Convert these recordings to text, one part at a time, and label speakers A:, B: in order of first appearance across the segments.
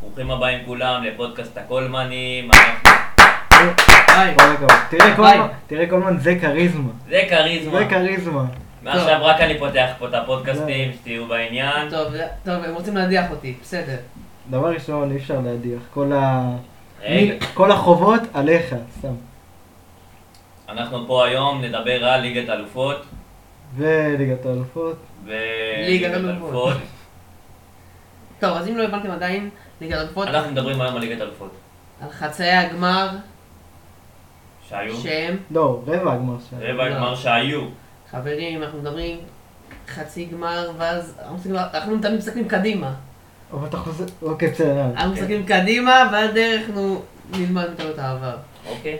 A: ברוכים הבאים כולם לפודקאסט הקולמנים. אנחנו-
B: היי.
C: כל הכבוד. תראה,
B: ביי.
C: קולמן- תראה קולמן זה כריזמה.
A: זה כריזמה.
C: זה כריזמה.
A: מעכשיו רק אני פותח פה את הפודקאסטים, שתהיו בעניין.
B: אה, טוב, טוב, הם רוצים להדיח אותי, בסדר.
C: דבר ראשון, אי אפשר להדיח. כל ה...
A: רגע,
C: מי- כל החובות עליך, סתם.
A: אנחנו פה היום נדבר על ליגת אלופות.
C: וליגת האלופות.
A: ו-
B: ליגת אלופות. טוב, אז אם לא הבנתם עדיין, ליגת אלופות,
A: אנחנו מדברים היום על ליגת אלופות.
B: על חצאי הגמר,
A: שהיו.
B: שהם,
C: לא, רבע הגמר שם.
A: רבע
B: לא.
A: גמר שהיו.
B: חברים, אנחנו מדברים חצי גמר, ואז אנחנו מסתכלים- אנחנו תמיד מסתכלים קדימה.
C: אבל אתה חוזר... אוקיי, בסדר. יאללה.
B: אנחנו מסתכלים קדימה, והדרך אנחנו נלמד מטעויות העבר.
A: אוקיי.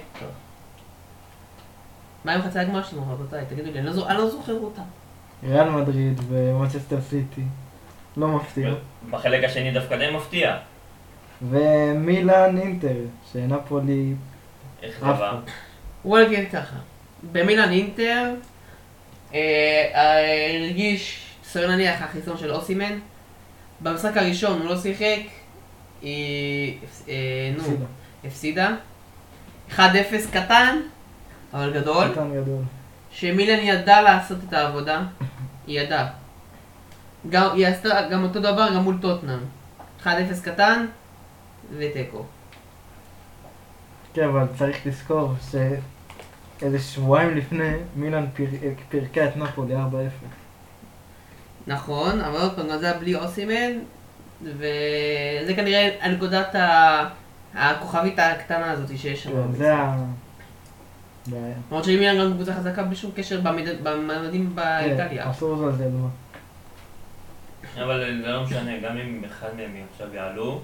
B: מה עם חצי הגמר שלנו, רבותיי? תגידו לי, אני לא זו- אני לא זוכר אותה.
C: ריאל מדריד ומוצ'סטר סיטי. לא מפתיע.
A: כן. בחלק השני דווקא די מפתיע.
C: ומילאן אינטר, שנפולי...
A: איך זה
C: עפה.
A: בא?
B: בוא נגיד ככה, במילאן אינטר אה, אה, הרגיש, סביר נניח, החיסון של אוסימן. במשחק הראשון הוא לא שיחק, היא, הפס- אה, נו,
C: הפסידה.
B: הפסידה. 1-0 קטן, אבל גדול,
C: קטן גדול.
B: שמילאן ידעה לעשות את העבודה, היא ידעה. גם, היא עשתה גם אותו דבר גם מול טוטנאם. 1-0 קטן ותיקו.
C: כן, אבל צריך לזכור ש... איזה שבועיים לפני, מילאן פיר- פירקה את נפולי 4-0.
B: נכון, אבל עוד פעם, גם זה היה בלי אוסימן, וזה כנראה הנקודת ה... הכוכבית הקטנה הזאת שיש שם.
C: כן, זה ה... בעיה.
B: למרות שהיא מילה גם קבוצה חזקה בלי שום קשר במד- במדדים
C: כן,
B: באיטליה.
C: אסור לזלזל בה.
A: אבל זה לא משנה, גם אם אחד מהם עכשיו יעלו,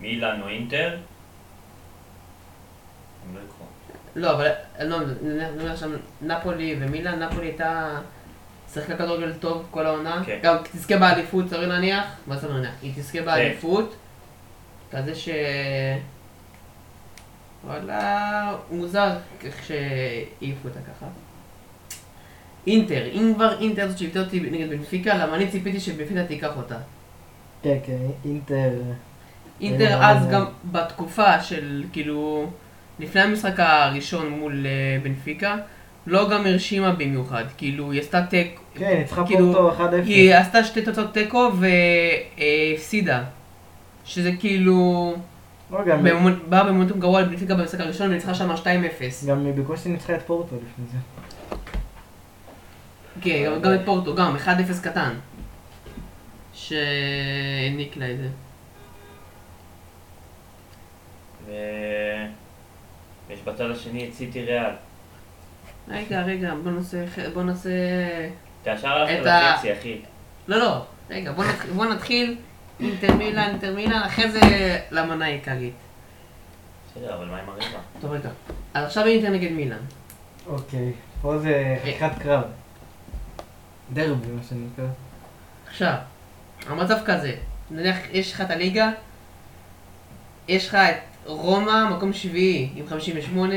A: מילאן או אינטר, הם לא יקחו.
B: לא, אבל לא, אני אומר עכשיו נפולי ומילה, נפולי הייתה שיחקה כדורגל טוב כל העונה.
A: כן.
B: גם תזכה באליפות, סביר להניח, מה זה לא להניח? היא תזכה באליפות, כזה ש... וואלה, מוזר איך שהעיפו אותה ככה. אינטר, אם כבר אינטר זאת שהפתיעה אותי נגד בנפיקה, למה אני ציפיתי שבנפיקה תיקח אותה.
C: כן, כן, אינטר...
B: אינטר
C: אה,
B: אז
C: אה.
B: גם בתקופה של כאילו לפני המשחק הראשון מול אה, בנפיקה לא גם הרשימה במיוחד כאילו היא עשתה תיקו
C: כן, היא ניצחה
B: כאילו,
C: פורטו 1-0.
B: היא עשתה שתי תוצאות תיקו והפסידה שזה כאילו
C: לא, גם היא-
B: במומנ- באה במומנטום גרוע לבנפיקה במשחק הראשון וניצחה שם 2-0
C: גם היא בקושי ניצחה את פורטו לפני זה.
B: כן גם- גם את פורטו גם 1-0 קטן שהעניק לה את זה
A: ו- ויש בצד השני את סיטי ריאל.
B: רגע רגע בוא נעשה ח- בוא נעשה
A: תאשר הלכת
B: את ה-
A: לחצי, אחי.
B: לא, לא, רגע, בוא, נתח... בוא נתחיל אינטר מילאן, אינטר מילאן, אחרי זה למנה העיקרית.
A: בסדר, אבל מה עם הרבע?
B: טוב, רגע. אז עכשיו אינטר נגד מילאן.
C: אוקיי, פה זה חתיכת קרב. דרבי, מה שנקרא.
B: עכשיו, המצב כזה, נניח יש לך את הליגה, יש לך את רומא, מקום שביעי עם 58,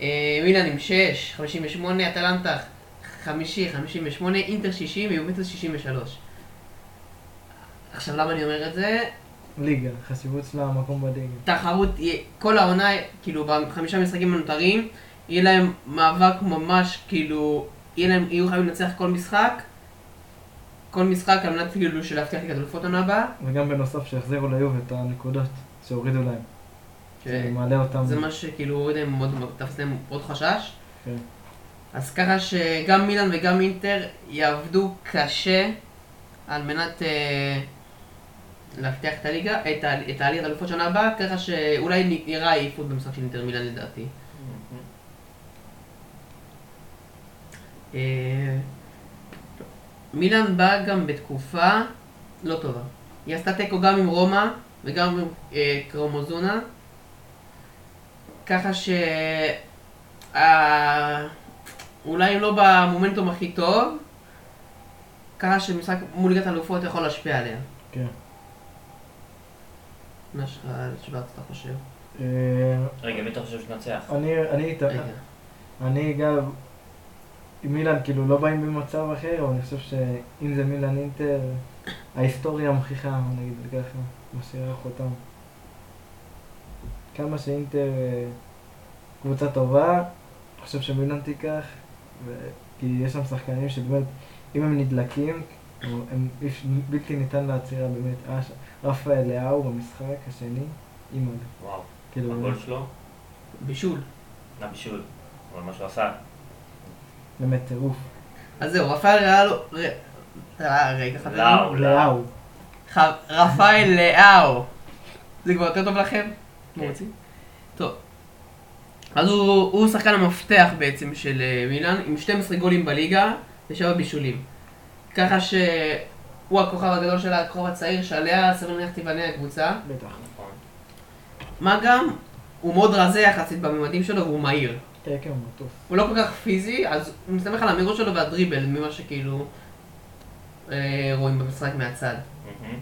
B: אה, מילאן עם 6, 58, אטלנטה חמישי, 58, אינטר 60 ויובנטוס 63. עכשיו, למה אני אומר את זה?
C: ליגה, חשיבות שלה המקום בליגה.
B: תחרות, יהיה- כל העונה, כאילו, בחמישה משחקים הנותרים, יהיה להם מאבק ממש, כאילו, יהיה להם, יהיו חייבים לנצח כל משחק, כל משחק על מנת כאילו של להבטיח את אלופות העונה הבאה.
C: וגם בנוסף שיחזירו ליוב את הנקודות שהורידו להם. זה מעלה אותם.
B: כן. זה מה שכאילו הוריד להם מאוד, תפס להם עוד חשש.
C: כן.
B: אז ככה שגם מילאן וגם אינטר יעבדו קשה על מנת אה, להבטיח את הליגה, את, ה- את העליית האלופות שנה הבאה, ככה שאולי נראה עייפות במשחק של אינטר מילאן לדעתי. אה, מילאן באה גם בתקופה לא טובה. היא עשתה תיקו גם עם רומא וגם עם אה, קרומוזונה, ככה ש... אה, אולי לא במומנטום הכי טוב, ככה שמשחק מול ליגת אלופות יכול להשפיע עליה.
C: כן.
B: מה שלך, אתה חושב?
C: אה,
A: רגע, מי אתה חושב שנצח?
C: אני, אני איתה.
B: רגע.
C: אני גם, עם מילאן כאילו לא באים במצב אחר, אבל אני חושב שאם זה מילאן אינטר, ההיסטוריה מוכיחה, נגיד את זה ככה, משאירה חותם. כמה שאינטר אה, קבוצה טובה, אני חושב שמילן תיקח, ו- כי יש שם שחקנים שבאמת, אם הם נדלקים, או הם יש- בלתי ניתן לעצירה באמת. אה, ש- רפה אליהו במשחק השני, אימא'לה.
A: וואו,
C: כאילו,
A: הגול שלו,
B: בישול.
A: נבישול, אבל מה שהוא עשה,
C: באמת טירוף.
B: אז זהו, רפאל ריאלו... ר- אה, רגע, חברים.
A: לאו.
C: לאהו.
B: ח- רפאל לאהו. זה כבר יותר טוב לכם?
A: כן.
B: מרוצים? טוב. אז הוא הוא שחקן המפתח בעצם של אה, מילאן, עם 12 גולים בליגה ושבע בישולים. ככה שהוא הכוכב הגדול שלה, הכוכב הצעיר שעליה סביר להניח תיבנה הקבוצה.
C: בטח.
A: נכון.
B: מה גם, הוא מאוד רזה יחסית בממדים שלו והוא מהיר.
C: כן, כן, הוא מטוס.
B: הוא לא כל כך פיזי, אז הוא מסתמך על המהירות שלו והדריבל, ממה שכאילו אה, רואים במשחק מהצד.
A: מהמם.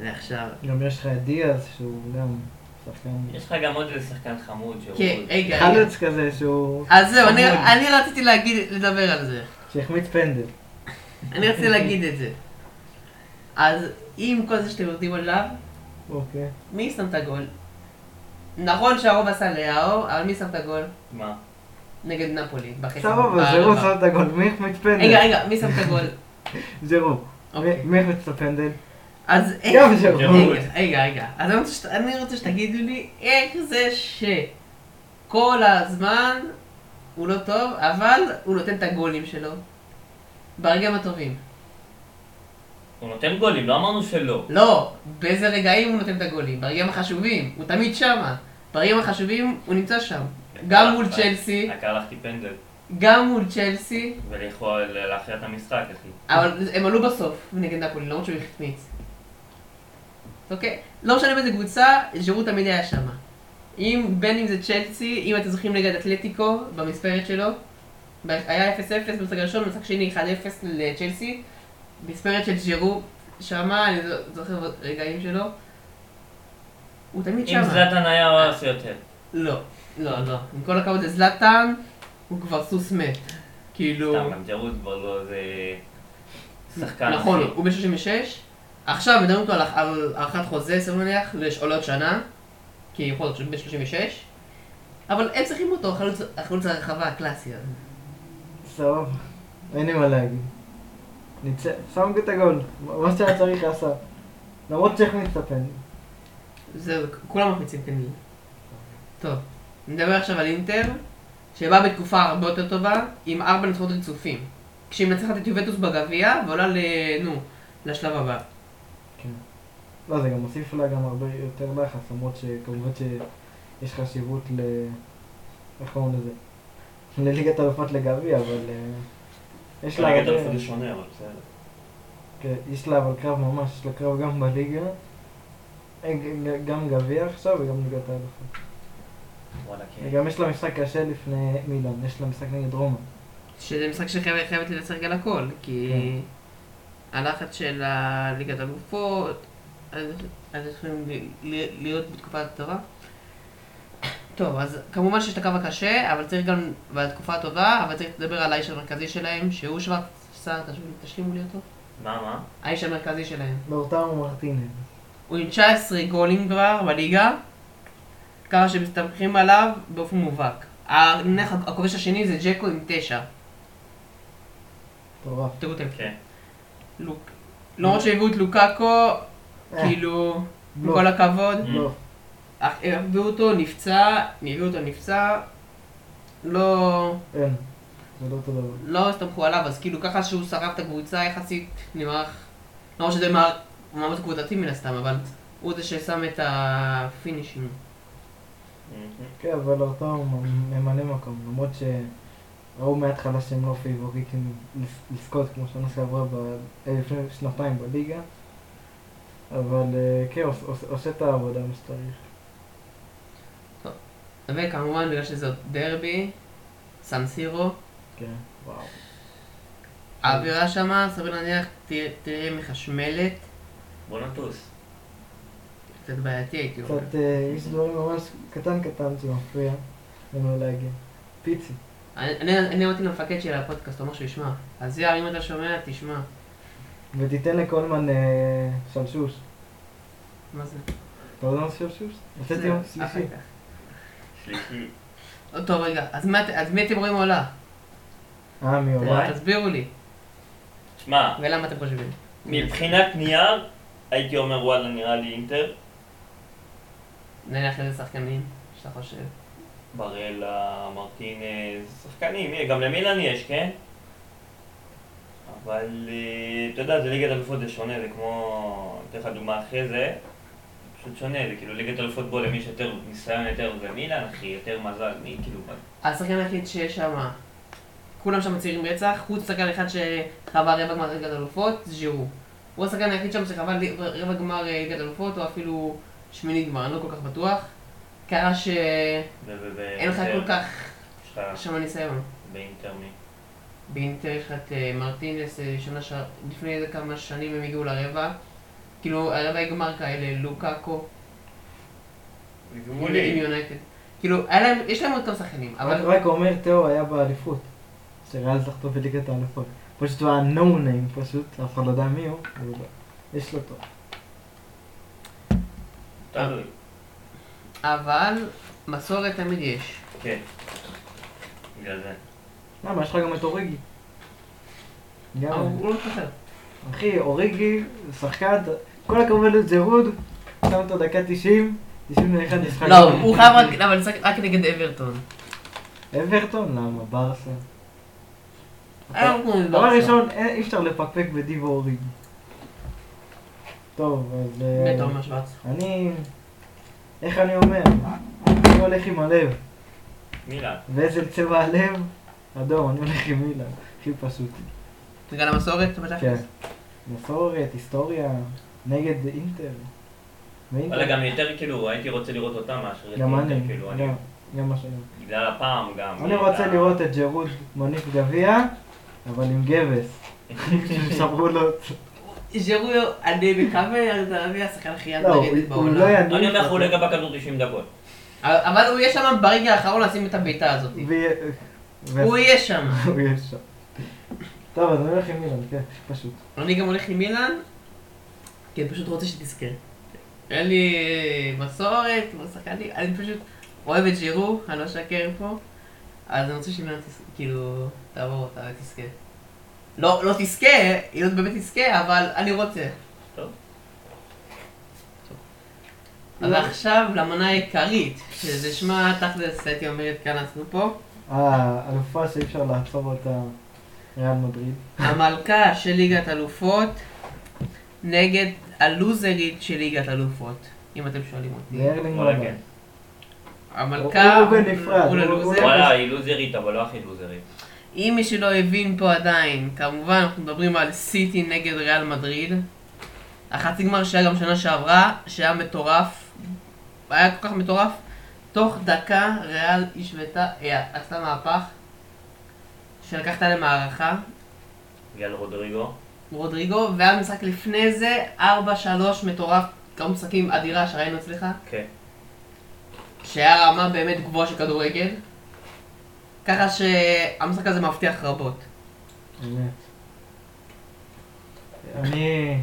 B: ועכשיו...
C: גם יש לך את דיאז, שהוא גם שחקן...
A: יש לך גם עוד איזה שחקן חמוד שהוא...
B: כן, רגע, רגע.
C: חלוץ כזה שהוא...
B: אז זהו, אני,
C: חמוד.
B: אני רציתי להגיד, לדבר על זה.
C: שהחמיץ פנדל.
B: אני רציתי להגיד את זה. אז עם כל זה שאתם יודעים עליו,
C: אוקיי.
B: מי שם את הגול? נכון שהרוב עשה לאהו, אבל מי שם את הגול?
A: מה?
B: נגד נפולי, בחצי.
C: סבבה,
B: ברבע.
C: זה הוא שם את הגול. מי החמיץ
B: אוקיי, רגע,
C: פנדל?
B: רגע, מי שם את הגול?
C: ז'רו.
B: אוקיי.
C: מי מי החמיץ את הפנדל?
B: אז איך...
C: גם ז'רו.
A: ז'רו.
B: רגע, רגע, רגע. אז אני רוצה, שת- אני רוצה שתגידו לי איך זה שכל הזמן הוא לא טוב, אבל הוא נותן את הגולים שלו. ברגעים הטובים.
A: הוא נותן גולים, לא אמרנו שלא.
B: לא, באיזה רגעים הוא נותן את הגולים? ברגעים החשובים, הוא תמיד שמה. ברגעים החשובים הוא נמצא שם. גם מול צ'לסי,
A: רק הלכתי פנדל,
B: גם מול צ'לסי,
A: וליכול להכריע את המשחק, אחי.
B: אבל הם עלו בסוף נגד נפולי, למרות שהוא החמיץ. אוקיי? לא משנה באיזה קבוצה, ז'רו תמיד היה שם. אם, בין אם זה צ'לסי, אם אתם זוכרים נגד אתלטיקו, במספרת שלו, ב- היה 0-0 במשחק הראשון, במשחק שני 1-0 לצ'לסי, מספרת של ז'רו, שמה, אני זו- זוכר רגעים שלו, הוא תמיד שמה.
A: אם זלאטן היה הוא היה עושה יותר.
B: לא, לא, לא. עם כל הכבוד לזלאטן, הוא כבר סוס מת. כאילו...
A: סתם, גם ג'רוד כבר לא זה... שחקן.
B: נכון,
A: אחי.
B: הוא ב-36. עכשיו מדברים איתו על- על הארכת חוזה, סביר להניח, לש- או לעוד שנה, כי יכול להיות שהוא בן 36. אבל הם צריכים אותו, החלוץ- החלוץ הרחבה הקלאסי הזה.
C: סבבה. אין לי מה להגיד. ניצח. שם את הגול. מה שהיה צריך עשה. למרות שהחמיץ את הפנדל.
B: זהו, כ- כולם מחמיצים כנראה. טוב, נדבר עכשיו על אינטר, שבאה בתקופה הרבה יותר טובה, עם ארבע נצחונות רצופים. כשהיא מנצחת את יובטוס בגביע, ועולה ל... נו, לשלב הבא.
C: לא, זה גם מוסיף לה גם הרבה יותר לחץ, למרות שכמובן שיש חשיבות ל... איך קוראים לזה? לליגת אלופות לגביע, אבל... אה, יש לה
A: כרגע אתה
C: הרבה...
A: מפריד שונה, אבל בסדר.
C: כן, יש לה אבל קרב ממש, יש לה קרב גם בליגה, אה, ג- ג- גם גביע עכשיו וגם ליגת
B: כן.
C: האלופות.
A: וואלה, כן.
C: גם יש לה משחק קשה לפני מילאן, יש לה משחק נגד רומא.
B: שזה משחק שחייבת לנצח על הכל, כי הלחץ של הליגת אלופות, אז אז יכולים ל- ל- להיות בתקופה טובה. טוב, אז כמובן שיש את הקו הקשה, אבל צריך גם, בתקופה הטובה, אבל צריך לדבר על האיש המרכזי שלהם, שהוא שוורצר, תשלימו לי אותו.
A: מה, מה?
B: האיש המרכזי שלהם.
C: לאורטרו מרטינז.
B: הוא עם 19 גולים כבר בליגה, ככה שמסתמכים עליו באופן מובהק. הנניח הכובש השני זה ג'קו עם 9.
C: מטורף.
B: תראו את ה-
A: כן.
B: לוק. למרות שהביאו את לוקאקו,
C: אה,
B: כאילו, עם
C: לא.
B: כל הכבוד,
C: לא,
B: אך- הביאו אותו, נפצע, הביאו אותו, נפצע, לא,
C: אין. זה לא אותו דבר.
B: לא הסתמכו עליו, אז כאילו ככה שהוא שרף את הקבוצה יחסית למערך, למרות שזה מערך- מעמד קבוצתי מן הסתם, אבל הוא זה ששם את הפינישים.
A: מהמם.
C: כן, אבל לאורטרו ממלא מקום, למרות שראו מההתחלה שהם לא פיבוריטים לז- לזכות כמו שנה שעברה, ב- אה, לפני שנתיים בליגה. אבל אה, כן, עוש- עוש- עושה את העבודה מה שצריך.
B: וכמובן, בגלל שזה עוד דרבי, סן סירו,
C: כן, וואו.
B: האווירה שמה, סביר להניח, תהיה- תהיה מחשמלת,
A: בוא נטוס.
B: קצת בעייתי הייתי אומר.
C: קצת, אה, יש דברים ממש קטן קטן שמפריע לנו להגיע. פיצי.
B: אני- אני אני אמרתי למפקד שלי על הפודקאסט, הוא אמר שהוא ישמע. אז יאר, אם אתה שומע, תשמע.
C: ותיתן לקולמן אה, שלשוש.
B: מה זה?
C: אתה יודע מה זה שלשוש? הוצאתי יום
B: זה,
C: שלישי.
B: אחר כך.
A: שלישי.
B: עוד טוב רגע, אז מה- אז מי אתם רואים עולה?
C: אה, מי עולה?
B: תסבירו לי,
A: שמע,
B: ולמה אתם חושבים?
A: מבחינת נייר, הייתי אומר וואלה נראה לי אינטר.
B: נניח איזה שחקנים שאתה חושב.
A: ברלה, מרטינז, שחקנים, אה, גם למילן יש, כן? אבל אה, אתה יודע, זה ליגת אלופות זה שונה, זה כמו, אני אתן לך דוגמה אחרי זה, זה פשוט שונה, זה כאילו ליגת אלופות בו למי שיותר ניסיון יותר זה מילן, אחי, יותר מזל, מי כאילו,
B: השחקן היחיד שיש שם, כולם שם צעירים רצח, חוץ שחקן אחד שחווה רבע גמר ליגת אלופות, זה ז'ירו. הוא השחקן היחיד שם שחווה לי- רבע גמר אה, ליגת אלופות, או אפילו שמינית גמר, אני לא כל כך בטוח. קרה שאין
A: ו- ו- ו-
B: לך
A: אה,
B: כל כך
A: יש לך
B: שם ניסיון.
A: באינטר מי.
B: באינטר יש לך את אה, מרטינס, אה, שנה ש... לפני איזה כמה שנים הם הגיעו לרבע. כאילו, הרבע גמר כאלה, לוקאקו, עם עם
A: גמולי.
B: יונייטד. כאילו, היה להם, יש להם עוד כמה שחקנים,
C: רק
B: אבל...
C: רק אומר, תאו היה באליפות. שריאל זכתו בליגת האלופות. פשוט הוא היה נו ניים פשוט, אף אחד לא יודע מי הוא. אבל יש לו טוב.
A: תלוי.
B: אבל מסורת תמיד יש.
A: כן. בגלל זה.
C: למה, לא, יש לך גם את אוריגי.
B: אבל
C: גם,
B: הוא לא מתחבר.
C: אחי, אוריגי, שחקן, כל הכבוד לג'רוד, שם אותו דקה 90, 91 משחק.
B: לא, הוא חייב רק, אבל לשחק רק נגד אברטון.
C: אברטון, למה? ברסה.
B: היום אה, הוא עם
C: דבר
B: ברסה.
C: ראשון, אין- אי אפשר לפקפק בדיבו אוריגי. טוב, אז... אה,
B: באמת תומר שוורץ.
C: אני... איך אני אומר? אני הולך עם הלב.
A: מילן.
C: ואיזה צבע הלב? אדום, אני הולך עם מילה. הכי פשוט.
B: בגלל המסורת, בטח.
C: כן. מסורת, היסטוריה, נגד אינטר. ואינטר-
A: וואלה, גם יותר כאילו, הייתי רוצה לראות אותה מאשר את
C: אוקיי. גם אני.
A: אינטר, כאילו, אני...
C: גם- גם מה שאני.
A: בגלל הפעם גם.
C: אני רוצה לראות את ג'רוד מניף גביע, אבל עם גבס. שברו לו את...
B: ז'רו, אני מקווה, אני תל אביב, השחקן הכי
C: לא, הוא-
B: אנדרדד
C: הוא לא
B: בעולם.
C: יניף.
A: אני אומר, חולה גבה כדור 90 דקות.
B: אה, אבל הוא יהיה שם ברגע האחרון לשים את הבעיטה הזאת.
C: ו- ו-
B: הוא יהיה שם.
C: הוא יהיה שם. טוב, אז אני הולך עם מילן, כן, הכי פשוט.
B: אני גם הולך עם מילן, כי אני פשוט רוצה שתזכה. אין לי אה, מסורת, כמו שחקנים, אני פשוט אוהב את ז'ירו, אני לא אשקר פה, אז אני רוצה שמילן תזכה, כאילו, תעבור אותה ותזכה. לא, לא תזכה, היא לא באמת תזכה, אבל אני רוצה.
A: טוב.
B: טוב. אז עכשיו למנה העיקרית, שזה שמה תכלס, הייתי אומר, התכנסנו פה.
C: אה, אלופה שאי אפשר לעצור אותה, ריאל מדריד.
B: המלכה של ליגת אלופות נגד הלוזרית של ליגת אלופות, אם אתם שואלים אותי.
C: וארלינג
A: וואלה,
C: הולנד.
A: כן.
B: המלכה
C: הוא בנפרד,
B: מול
C: הוא-
B: הלוזר.
C: זה-
A: וואלה, היא לוזרית, אבל לא הכי לוזרית.
B: אם מי שלא הבין פה עדיין, כמובן אנחנו מדברים על סיטי נגד ריאל מדריד. החצי גמר שהיה גם שנה שעברה, שהיה מטורף, היה כל כך מטורף, תוך דקה ריאל השוותה, אה, עשתה מהפך, שלקחת למערכה,
A: בגלל רודריגו.
B: רודריגו, והיה משחק לפני זה, 4-3 מטורף, כמה משחקים אדירה שראינו אצלך,
A: כן.
B: שהיה רמה באמת גבוהה של כדורגל, ככה שהמשחק הזה מבטיח רבות.
C: באמת. אני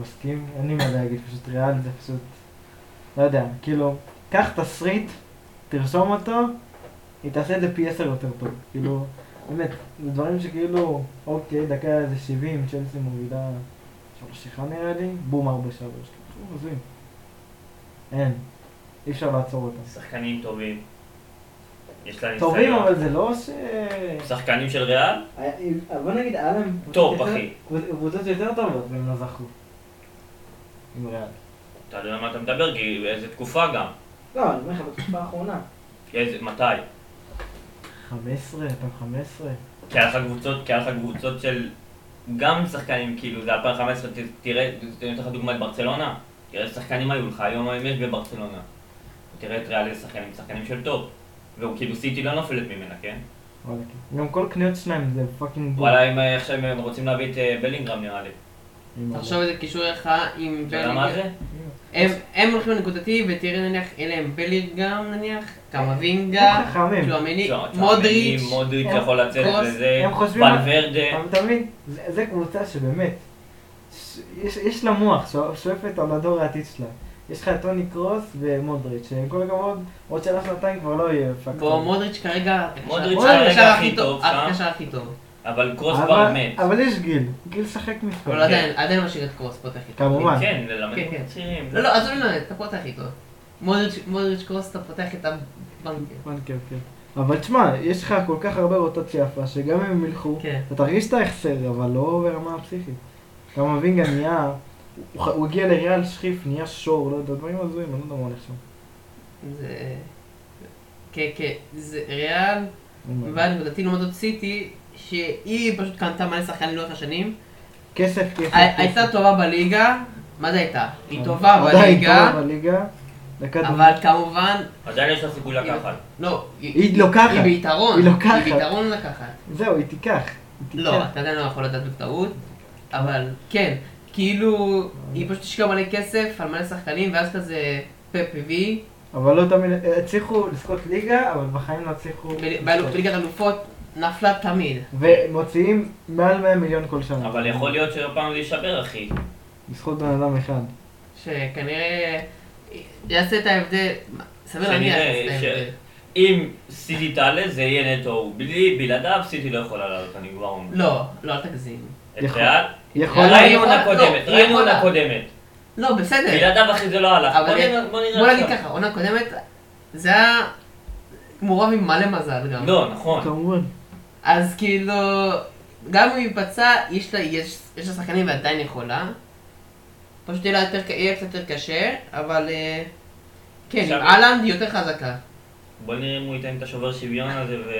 C: מסכים, אין לי מה להגיד, פשוט ריאל זה פשוט, לא יודע, כאילו, קח תסריט, תרשום אותו, היא תעשה את זה פי עשר יותר טוב, כאילו, באמת, זה דברים שכאילו, אוקיי, דקה איזה 70, צ'לסי מובילה שלוש אחד נראה לי, בום ארבע שלוש, כאילו, הזוי. אין, אי אפשר לעצור אותה.
A: שחקנים טובים. יש לה ניסיון.
C: טובים, אבל זה לא ש...
A: שחקנים של ריאל?
C: בוא נגיד, היה להם...
A: טוב, אחי.
C: קבוצות יותר טובות, והם לא זכו. עם ריאל.
A: אתה יודע על מה אתה מדבר, כי איזה תקופה גם.
D: לא, אני אומר לך, בתקופה האחרונה.
A: איזה, מתי?
C: 15, 2015.
A: כי היה לך קבוצות, כי היה לך קבוצות של גם שחקנים, כאילו, זה 2015, ת- תראה, אני אתן לך דוגמא את ברצלונה. תראה איזה שחקנים היו לך, היום היום יש בברצלונה. תראה את ריאל איזה שחקנים, שחקנים של טופ. והוא כאילו סיטי לא נופלת ממנה, כן?
C: וואלה, כן. גם כל קניות שלהם זה פאקינג בול.
A: וואלה, הם אה, עכשיו הם רוצים להביא את אה, בלינגרם נראה לי.
C: עם ה-
B: תחשוב איזה קישור לך עם
A: אתה יודע מה זה?
B: הם, הם הולכים לנקודתי ותראה נניח, אלה הם בלינגהם
C: הם
B: נניח, קמבינגה,
C: חכמים.
B: פלואמיני,
A: לא, צ'אמני,
B: מודריץ',
A: מודריץ'
C: הם-
A: יכול לצאת
B: קרוס,
A: וזה,
C: הם חושבים על-
A: ולוורדה,
C: אבל אתה מבין, זה- זה קבוצה שבאמת, ש- יש- יש לה מוח, שוא- שואפת על הדור העתיד שלה. יש לך את טוני קרוס ומודריץ', שעם כל הכבוד, עוד שנה שנתיים כבר לא יהיה פקטור.
B: בוא, מודריץ' כרגע...
A: מודריץ'
B: הוא
A: כרגע
B: הקשר
A: הכי טוב שם.
B: הקשר הכי טוב.
C: אוקיי.
A: אבל קרוס
C: אבל-
A: כבר מת.
C: אבל יש גיל, גיל שחק
B: אבל
C: מפקד.
B: עדיין, עדיין משאיר את קרוס פותח איתו.
C: כמובן.
A: כן, ללמד
B: כן, כן.
A: צעירים.
B: לא, לא, עזוב ללמד, אתה פותח איתו. מודריץ'- מודריץ' קרוס, אתה פותח את הבנקר.
C: כן, כן. אבל תשמע, יש לך כל כך הרבה רוטציה יפה, שגם אם הם ילכו,
B: כן.
C: אתה תרגיש את ההחסר, אבל לא ברמה הפסיכית. גם וינגה נהיה, הוא ח- הוא הגיע לריאל שכיף, נהיה שור, לא יודע, דברים הזויים, אני לא יודע מה הולך שם.
B: זה... כן, כן. זה ריאל,
C: אין בעיה.
B: ועד לדעתי לעומת זאת סיטי, שהיא פשוט קנתה מלא שחקנים לאורך השנים.
C: כסף, כסף, כסף.
B: הי- הייתה טובה בליגה, מה זה הייתה? היא טובה
C: עדיין טובה
B: בליגה,
C: בליגה. דקה
B: אבל כמובן,
A: עדיין יש לה סיכוי לקחת.
B: לא, היא
C: היא לוקחת.
B: היא ביתרון,
C: היא לוקחת.
B: היא ביתרון לקחת.
C: דקה. זהו, היא תיקח. היא תיקח.
B: לא, אתה עדיין לא יכול לדעת בטעות, אבל כן, כאילו, היא פשוט השקיעה מלא כסף על מלא שחקנים, ואז כזה פפ הביא,
C: אבל לא תמיד, הצליחו לזכות ליגה, אבל בחיים לא הצליחו.
B: בל- באלו- בליגת אלופות נפלה תמיד.
C: ומוציאים מעל 100 מיליון כל שנה.
A: אבל יכול להיות שהפעם זה יישבר, אחי.
C: בזכות בן אדם אחד.
A: כן.
B: שכנראה יעשה את ההבדל, סביר
A: כנראה
B: להניח יעשה את
A: ש-
B: ההבדל.
A: אם סיטי תעלה, זה יהיה נטו. בלי, בלעדיו סיטי לא יכולה לעלות, אני כבר אומר.
B: לא, לא, אל תגזים.
A: את
C: יכול.
A: ריאל?
C: יכול
B: יכולה,
A: ראינו עונה
B: יכולה,
A: קודמת,
B: לא,
A: ראינו עונה
B: יכולה.
A: קודמת.
B: לא, בסדר.
A: בלעדיו אחי זה לא הלך.
B: אבל
A: בוא נראה- בוא
B: בוא
A: נראה
B: נגיד
A: עכשיו.
B: ככה, עונה קודמת, זה היה מעורב עם מלא מזל גם.
A: לא, נכון.
C: כמובן.
B: אז כאילו, גם אם היא פצעה, יש לה, יש, יש לה שחקנים ועדיין יכולה. פשוט יהיה לה יותר, יהיה קצת יותר קשה, אבל אה, כן,
A: עכשיו-
B: עם אהלנד היא יותר חזקה.
A: בוא נראה אם הוא ייתן את השובר שוויון הזה ו...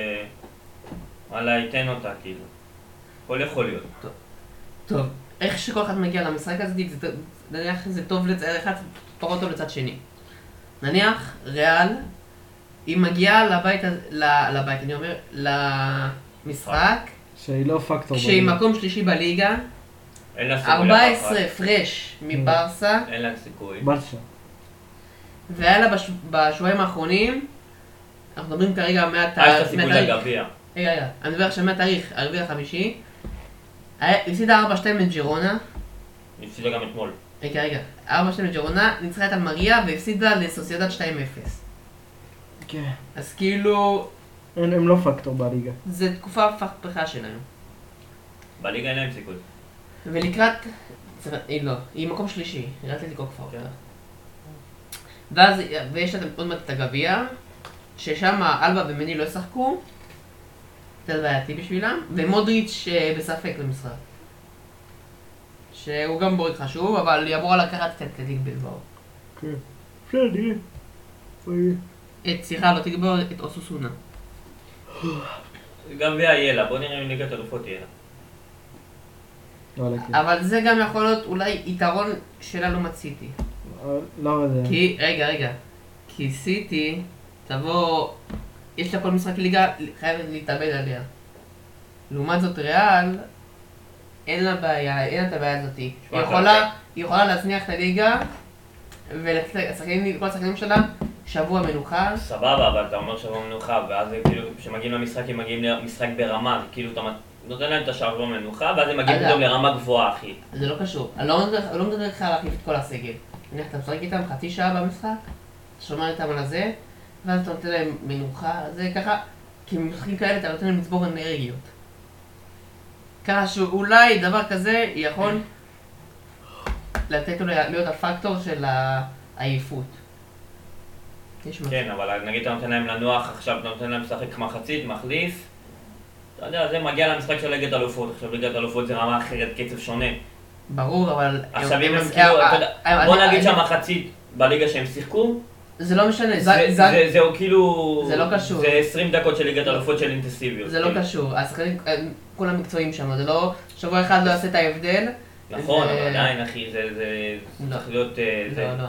A: וואלה, ייתן אותה, כאילו. הכל יכול להיות.
B: טוב, איך שכל אחד מגיע למשחק הזה, זה, נניח זה טוב לצד אחד, פחות טוב לצד שני. נניח, ריאל, היא מגיעה לבית, הזה- ל- לבית, אני אומר, למשחק,
C: שהיא לא פקטור.
B: כשהיא
C: בליגה.
B: מקום שלישי בליגה,
A: אין לה סיכוי לקחת.
B: 14 הפרש מברסה,
A: אין לה סיכוי.
C: בלשה.
B: והיה לה בש... בשבועיים האחרונים, אנחנו מדברים כרגע
A: אה, יש לה
B: מהתאריך,
A: סיכוי
B: מהתאריך,
A: לגביע.
B: רגע, רגע, אני מדבר עכשיו מהתאריך, הרביעי החמישי, היה- הפסידה 4-2 לג'ירונה,
A: היא הפסידה גם אתמול.
B: רגע, רגע, 4-2 לג'ירונה, ניצחה את אלמריה והפסידה לסוסיידד 2-0.
C: כן.
B: אז כאילו,
C: הם הם לא פקטור בליגה.
B: זה תקופה פכפכה שלהם.
A: בליגה אין להם סיכוי.
B: ולקראת, צריך- היא לא, היא מקום שלישי, נראית לי כל כפר.
A: כן.
B: ואז, ויש לה עוד מעט את הגביע, ששם אלבה ומני לא ישחקו, זה בעייתי בשבילם, ומודריץ' אה, בספק במשחק. שהוא גם בורג חשוב, אבל היא אמורה לקחת את אתלטיק בלבאו.
C: כן. בסדר, נראה. בואי.
B: את, סליחה, לא תגבור את אוסוסונה.
A: גביע יהיה לה, בוא נראה אם ליגת אלופות יהיה לה.
C: וואלה, כן.
B: אבל זה גם יכול להיות אולי יתרון שלה לא מציתי.
C: אבל לא יודע.
B: כי, רגע, רגע, כי סיטי, תבוא, יש לה כל משחק ליגה, חייבת להתאבד עליה. לעומת זאת ריאל, אין לה בעיה, אין לה את הבעיה הזאת. היא
A: שמע, אתה יודע.
B: יכולה, היא יכולה להזניח את הליגה, ולתת לשחקנים- כל השחקנים שלה, שבוע מנוחה.
A: סבבה, אבל אתה אומר שבוע מנוחה, ואז זה כאילו, כשמגיעים למשחק, הם מגיעים למשחק ברמה, זה כאילו אתה נותן להם את השבוע מנוחה, ואז הם מגיעים
B: אגב.
A: פתאום לרמה גבוהה, אחי.
B: זה לא קשור. אני לא מדבר- אני לא מדבר איתך על להחליף את כל הסגל. נניח אתה משחק איתם חצי שעה במשחק, אתה שומר איתם על הזה, ואז אתה נותן להם מנוחה, זה ככה, כי במשחקים כאלה אתה נותן להם לצבור אנרגיות. ככה שאולי דבר כזה יכול לתת לו להיות הפקטור של העייפות. יש מצב.
A: כן, אבל נגיד אתה נותן להם לנוח, עכשיו אתה נותן להם לשחק מחצית, מחליף. אתה יודע, זה מגיע למשחק של ליגת אלופות. עכשיו ליגת אלופות זה רמה אחרת, קצב שונה.
B: ברור, אבל...
A: עכשיו אם הם
B: אז-
A: כאילו,
B: אה,
A: אתה יודע,
B: אה,
A: בוא
B: אני-
A: נגיד
B: אני-
A: שהמחצית בליגה שהם שיחקו,
B: זה לא משנה,
A: זה-
B: זה- זה-
A: זה- זהו כאילו...
B: זה לא קשור.
A: זה 20 דקות של ליגת אלופות של אינטנסיביות.
B: זה לא
A: כאילו.
B: קשור, השחקנים הם כולם מקצועיים שם, זה לא, שבוע אחד לא יעשה את ההבדל.
A: נכון,
B: זה-
A: אבל עדיין, אחי, זה- זה זה
B: לא.
A: צריך להיות... אה, זה-
B: לא, לא,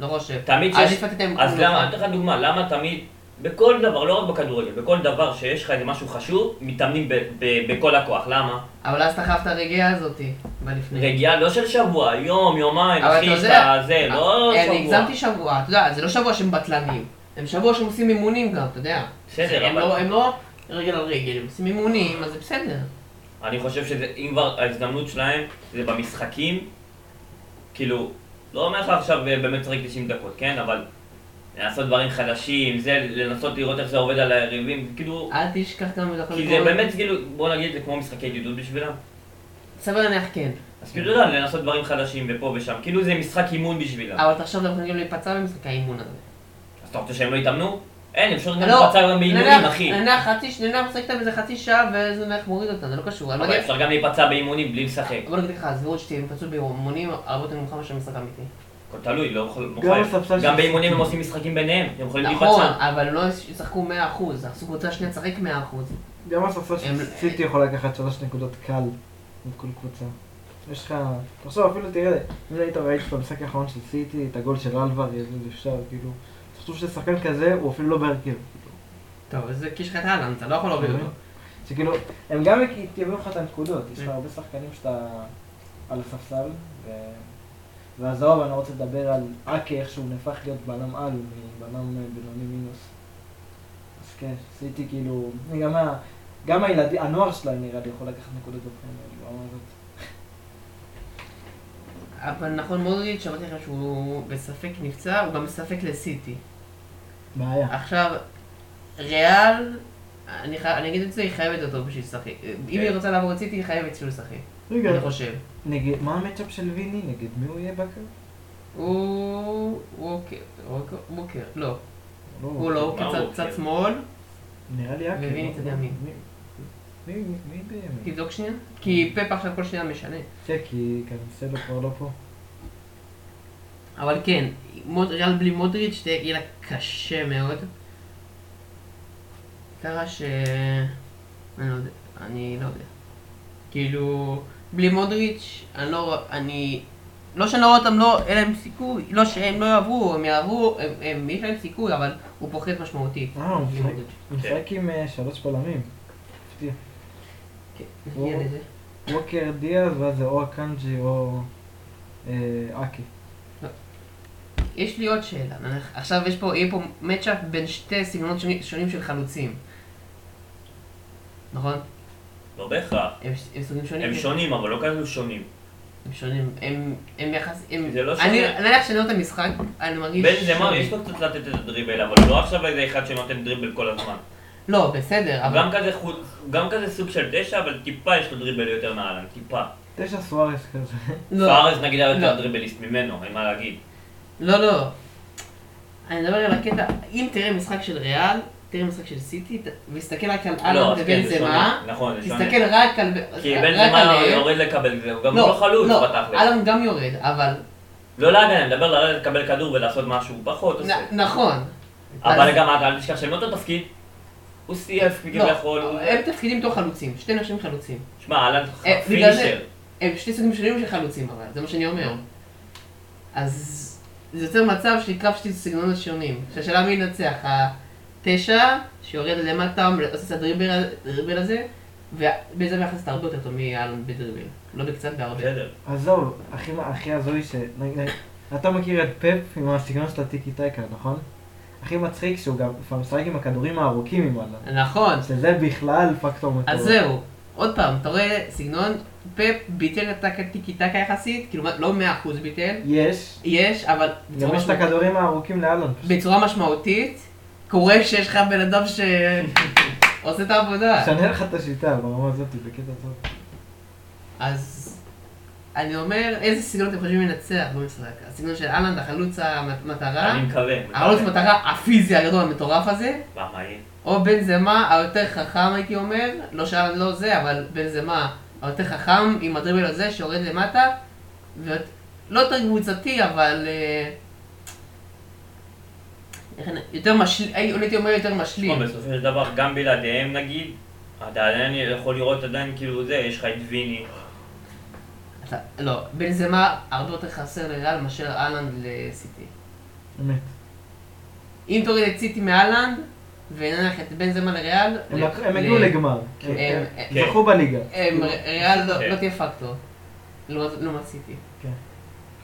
B: לא חושב.
A: תמיד
B: אז
A: שיש...
B: הפקתם
A: אז
B: כלום.
A: למה, אני אתן לך דוגמה, למה תמיד, בכל דבר, לא רק בכדורגל, בכל דבר שיש לך איזה משהו חשוב, מתאמנים ב- ב- בכל הכוח, למה?
B: אבל אז אתה חייב את הרגיעה הזאתי, בלפני.
A: רגיעה לא של שבוע, יום, יומיים,
B: Mm. אבל
A: אחי,
B: אתה יודע-
A: שאתה זה, לא
B: אה, אני
A: שבוע.
B: הגזמתי שבוע, אתה יודע, זה לא שבוע שהם בטלנים. הם שבוע שהם עושים אימונים גם, אתה יודע.
A: בסדר,
B: הם
A: אבל-
B: לא- הם לא רגל על רגל, הם עושים אימונים, אז זה בסדר.
A: אני חושב שזה, אם כבר ההזדמנות שלהם, זה במשחקים, כאילו, לא אומר לך עכשיו אה, באמת לשחק 90 דקות, כן? אבל לנסות דברים חדשים, זה, לנסות לראות איך זה עובד על היריבים, כאילו,
B: אל תשכח גם לדחות
A: כי זה באמת כאילו, בוא נגיד, זה כמו משחקי ידידות בשבילם.
B: סביר להניח כן.
A: אז כאילו, לא, לנסות דברים חדשים ופה ושם, כאילו זה משחק אימון בשבילם.
B: אבל תחשוב, אנחנו יכולים להיפצע במשחק האימון הזה.
A: אז אתה רוצה שהם לא יתאמנו? אין, אפשר
B: לא,
A: גם להיפצע גם באימונים, אחי.
B: נניח חצי שנייה, נניח משחק איתם איזה חצי שעה, וזה נניח מוריד אותנו, זה לא קשור. אני לא
A: אבל
B: יודע-
A: אפשר גם להיפצע באימונים בלי לשחק.
B: בוא נגיד לך, הזהירות שתהיה התפצלות באימונים הרבה יותר נמוכה מאשר משחק אמיתי.
A: הכל תלוי, לא יכול... לא
C: גם
A: חייב. גם
C: הספסל של-
A: באימונים הם עושים משחקים ביניהם, הם יכולים
B: נכון,
A: להיפצע.
B: אבל לא ישחקו 100%, עשו קבוצה שנייה לשחק 100%.
C: גם הספסל של
B: הם-
C: סיטי יכול לקחת שלוש נקודות קל מכל קבוצה. יש לך... תחשוב, אפילו תראה, אם היית ראית במשחק האחרון של סיטי, את הגול של אלוורז, אז אפשר, כאילו... תחשוב ששחקן כזה, הוא אפילו לא בהרכב.
B: טוב, אז זה כי יש לך את אהלן, אתה לא יכול להוריד אותו.
C: שכאילו, הם גם יביאו לך את הנקודות, יש
B: כן.
C: לך הרבה שחקנים שאתה על הספסל, ו- והזהוב, אני לא רוצה לדבר על אקה, איך שהוא נהפך להיות בלם על, מבלם אה, בינוני מינוס. אז כן, עשיתי כאילו, אני גם, ה- גם הילדים, הנוער שלהם נראה לי יכול לקחת נקודות בפרמייר, ברמה הזאת.
B: אבל נכון מודריץ', שמעתי לכם שהוא בספק נפצע, הוא גם בספק לסיטי.
C: בעיה.
B: עכשיו, ריאל, אני, חי... אני אגיד את זה, היא חייבת אותו בשביל לשחק. אם היא רוצה לעבור את סיטי, היא חייבת שהוא לשחק, אני חושב.
C: נגד, מה המצ'אפ של ויני? נגד מי הוא יהיה בקר?
B: הוא... ווקר, ווקר, ווקר, לא. הוא לא, הוא
A: מה
B: קצת-
A: הוא
B: קצת
A: ווקר?
B: שמאל.
C: נראה לי אקה.
B: וויני צד ימין.
C: מי- מי- מי מי בימין?
B: תבדוק שנייה. כי פפ עכשיו כל שנייה משנה.
C: כן, כי קנסלו כבר לא פה.
B: אבל כן, מוד... ריאל בלי מודריץ' תהיה יהיה לה קשה מאוד. ככה ש... אני לא יודע. אני לא יודע. כאילו, בלי מודריץ', אני לא... רוא- אני... לא שאני לא רואה אותם, לא, אין להם סיכוי, לא שהם לא יעברו, הם יעברו, הם, הם, יש להם סיכוי, אבל הוא פוחת משמעותי.
C: אה, הוא
B: בלי
C: משחק.
B: מודריץ'.
C: הוא משחק עם אה, שלוש בלמים. הפתיע.
B: כן,
C: הוא-
B: נגיע לזה.
C: ווקר דיאז, ואז זה או הקאנג'י או אה, אקי.
B: יש לי עוד שאלה, נניח- עכשיו יש פה, יהיה פה מצ'אפ בין שתי סגנונות שונים, שונים של חלוצים. נכון?
A: לא בהכרח.
B: הם, הם סוגים שונים. כן.
A: הם שונים, אבל לא כאלו שונים.
B: הם שונים, הם, הם יחס, הם,
A: זה לא
B: אני,
A: שונה.
B: נניח שאני רואה את המשחק, אני מרגיש...
A: בן זמר
B: שוני.
A: יש לו קצת לתת את הדריבל, אבל לא עכשיו איזה אחד שנותן דריבל כל הזמן.
B: לא, בסדר,
A: הוא
B: אבל...
A: גם כזה חוץ- הוא גם כזה סוג של תשע, אבל טיפה יש לו דריבל יותר מאלן, טיפה.
C: תשע סוארס כזה.
B: לא,
A: פארז נגיד היה
B: לא.
A: יותר דריבליסט ממנו, אין מה להגיד.
B: לא, לא. אני מדבר על הקטע, אם תראה משחק של ריאל, תראה משחק של סיטי, ת- והסתכל רק על
A: לא,
B: אלון
A: אז
B: ובן
A: כן, זה
B: זמה,
A: שונה. נכון, זה שונה.
B: תסתכל רק על...
A: כי
B: רק
A: בן
B: עליהם.
A: זמה יורד לקבל, זה, הוא גם לא חלוץ בתכלס.
B: אלון גם יורד, אבל...
A: לא להגן, אני מדבר לרדת לקבל כדור ולעשות משהו, הוא פחות עושה.
B: נ- נכון.
A: לא, אבל
B: אז-
A: גם אל אל תשכח שהם לא אותו תפקיד. הוא סייף כביכול.
B: לא,
A: הוא-
B: הם תפקידים בתור חלוצים, שתי נשים חלוצים.
A: שמע, אהלן
B: אה, בגלל זה-
A: פינישר.
B: הם שני סוגים שונים של חלוצים אבל, זה מה שאני אומר. אז זה יוצר מצב של קרב שתי סגנונות שונים. שהשאלה מי ינצח, התשע שיורד למטה, עושה את הדריבל הדריבל הזה, ובזה מייחס את הרבה יותר טוב מאלון בדריבל. לא בקצת, בהרבה.
A: בסדר.
C: עזוב, הכי הכי הזוי ש... נגיד, אתה מכיר את פפ עם הסגנון של הטיקי טקה, נכון? הכי מצחיק שהוא גם לפעמים משחק עם הכדורים הארוכים עם אללה.
B: נכון.
C: שזה בכלל פקטור מטורף.
B: אז זהו. עוד פעם, אתה רואה סגנון, פפ ביטל את הטיקי טקה יחסית, כאילו לא 100% ביטל,
C: יש.
B: יש, אבל...
C: גם יש את הכדורים הארוכים לאלון.
B: בצורה משמעותית, קורה שיש לך בן אדם שעושה את העבודה.
C: משנה לך את השיטה ברמה הזאת, בקטע טוב.
B: אז אני אומר, איזה סגנון אתם חושבים לנצח במשחק? הסגנון של אהלן, החלוץ המטרה,
A: אני מקווה. מקווה.
B: החלוץ המטרה הפיזי הגדול המטורף הזה,
A: מה, מה יהיה?
B: או בן זמה היותר חכם הייתי אומר, לא שאהלן לא זה, אבל בן זמה היותר חכם עם הדריבל הזה שיורד למטה, ולא יותר קבוצתי, אבל... אה, איך אני- יותר משלים, הייתי אומר יותר משלים.
A: טוב, בסופו של דבר, גם בלעדיהם נגיד, אתה עדיין יכול לראות עדיין כאילו זה, יש לך את ויני.
B: אתה- לא, בנזמה הרבה יותר חסר לריאל מאשר אהלנד לסיטי.
C: אמת.
B: אם תוריד את סיטי מאהלנד, ונניח את בנזמה לריאל,
C: הם
B: ל-
C: לק- הם
B: ל-
C: הגיעו לגמר.
B: הם-
C: הם-
B: הם-
A: כן.
C: זכו בליגה.
B: הם- ריאל לא
A: כן.
B: לא תהיה פקטור, לעומת לעומת סיטי.
C: כן.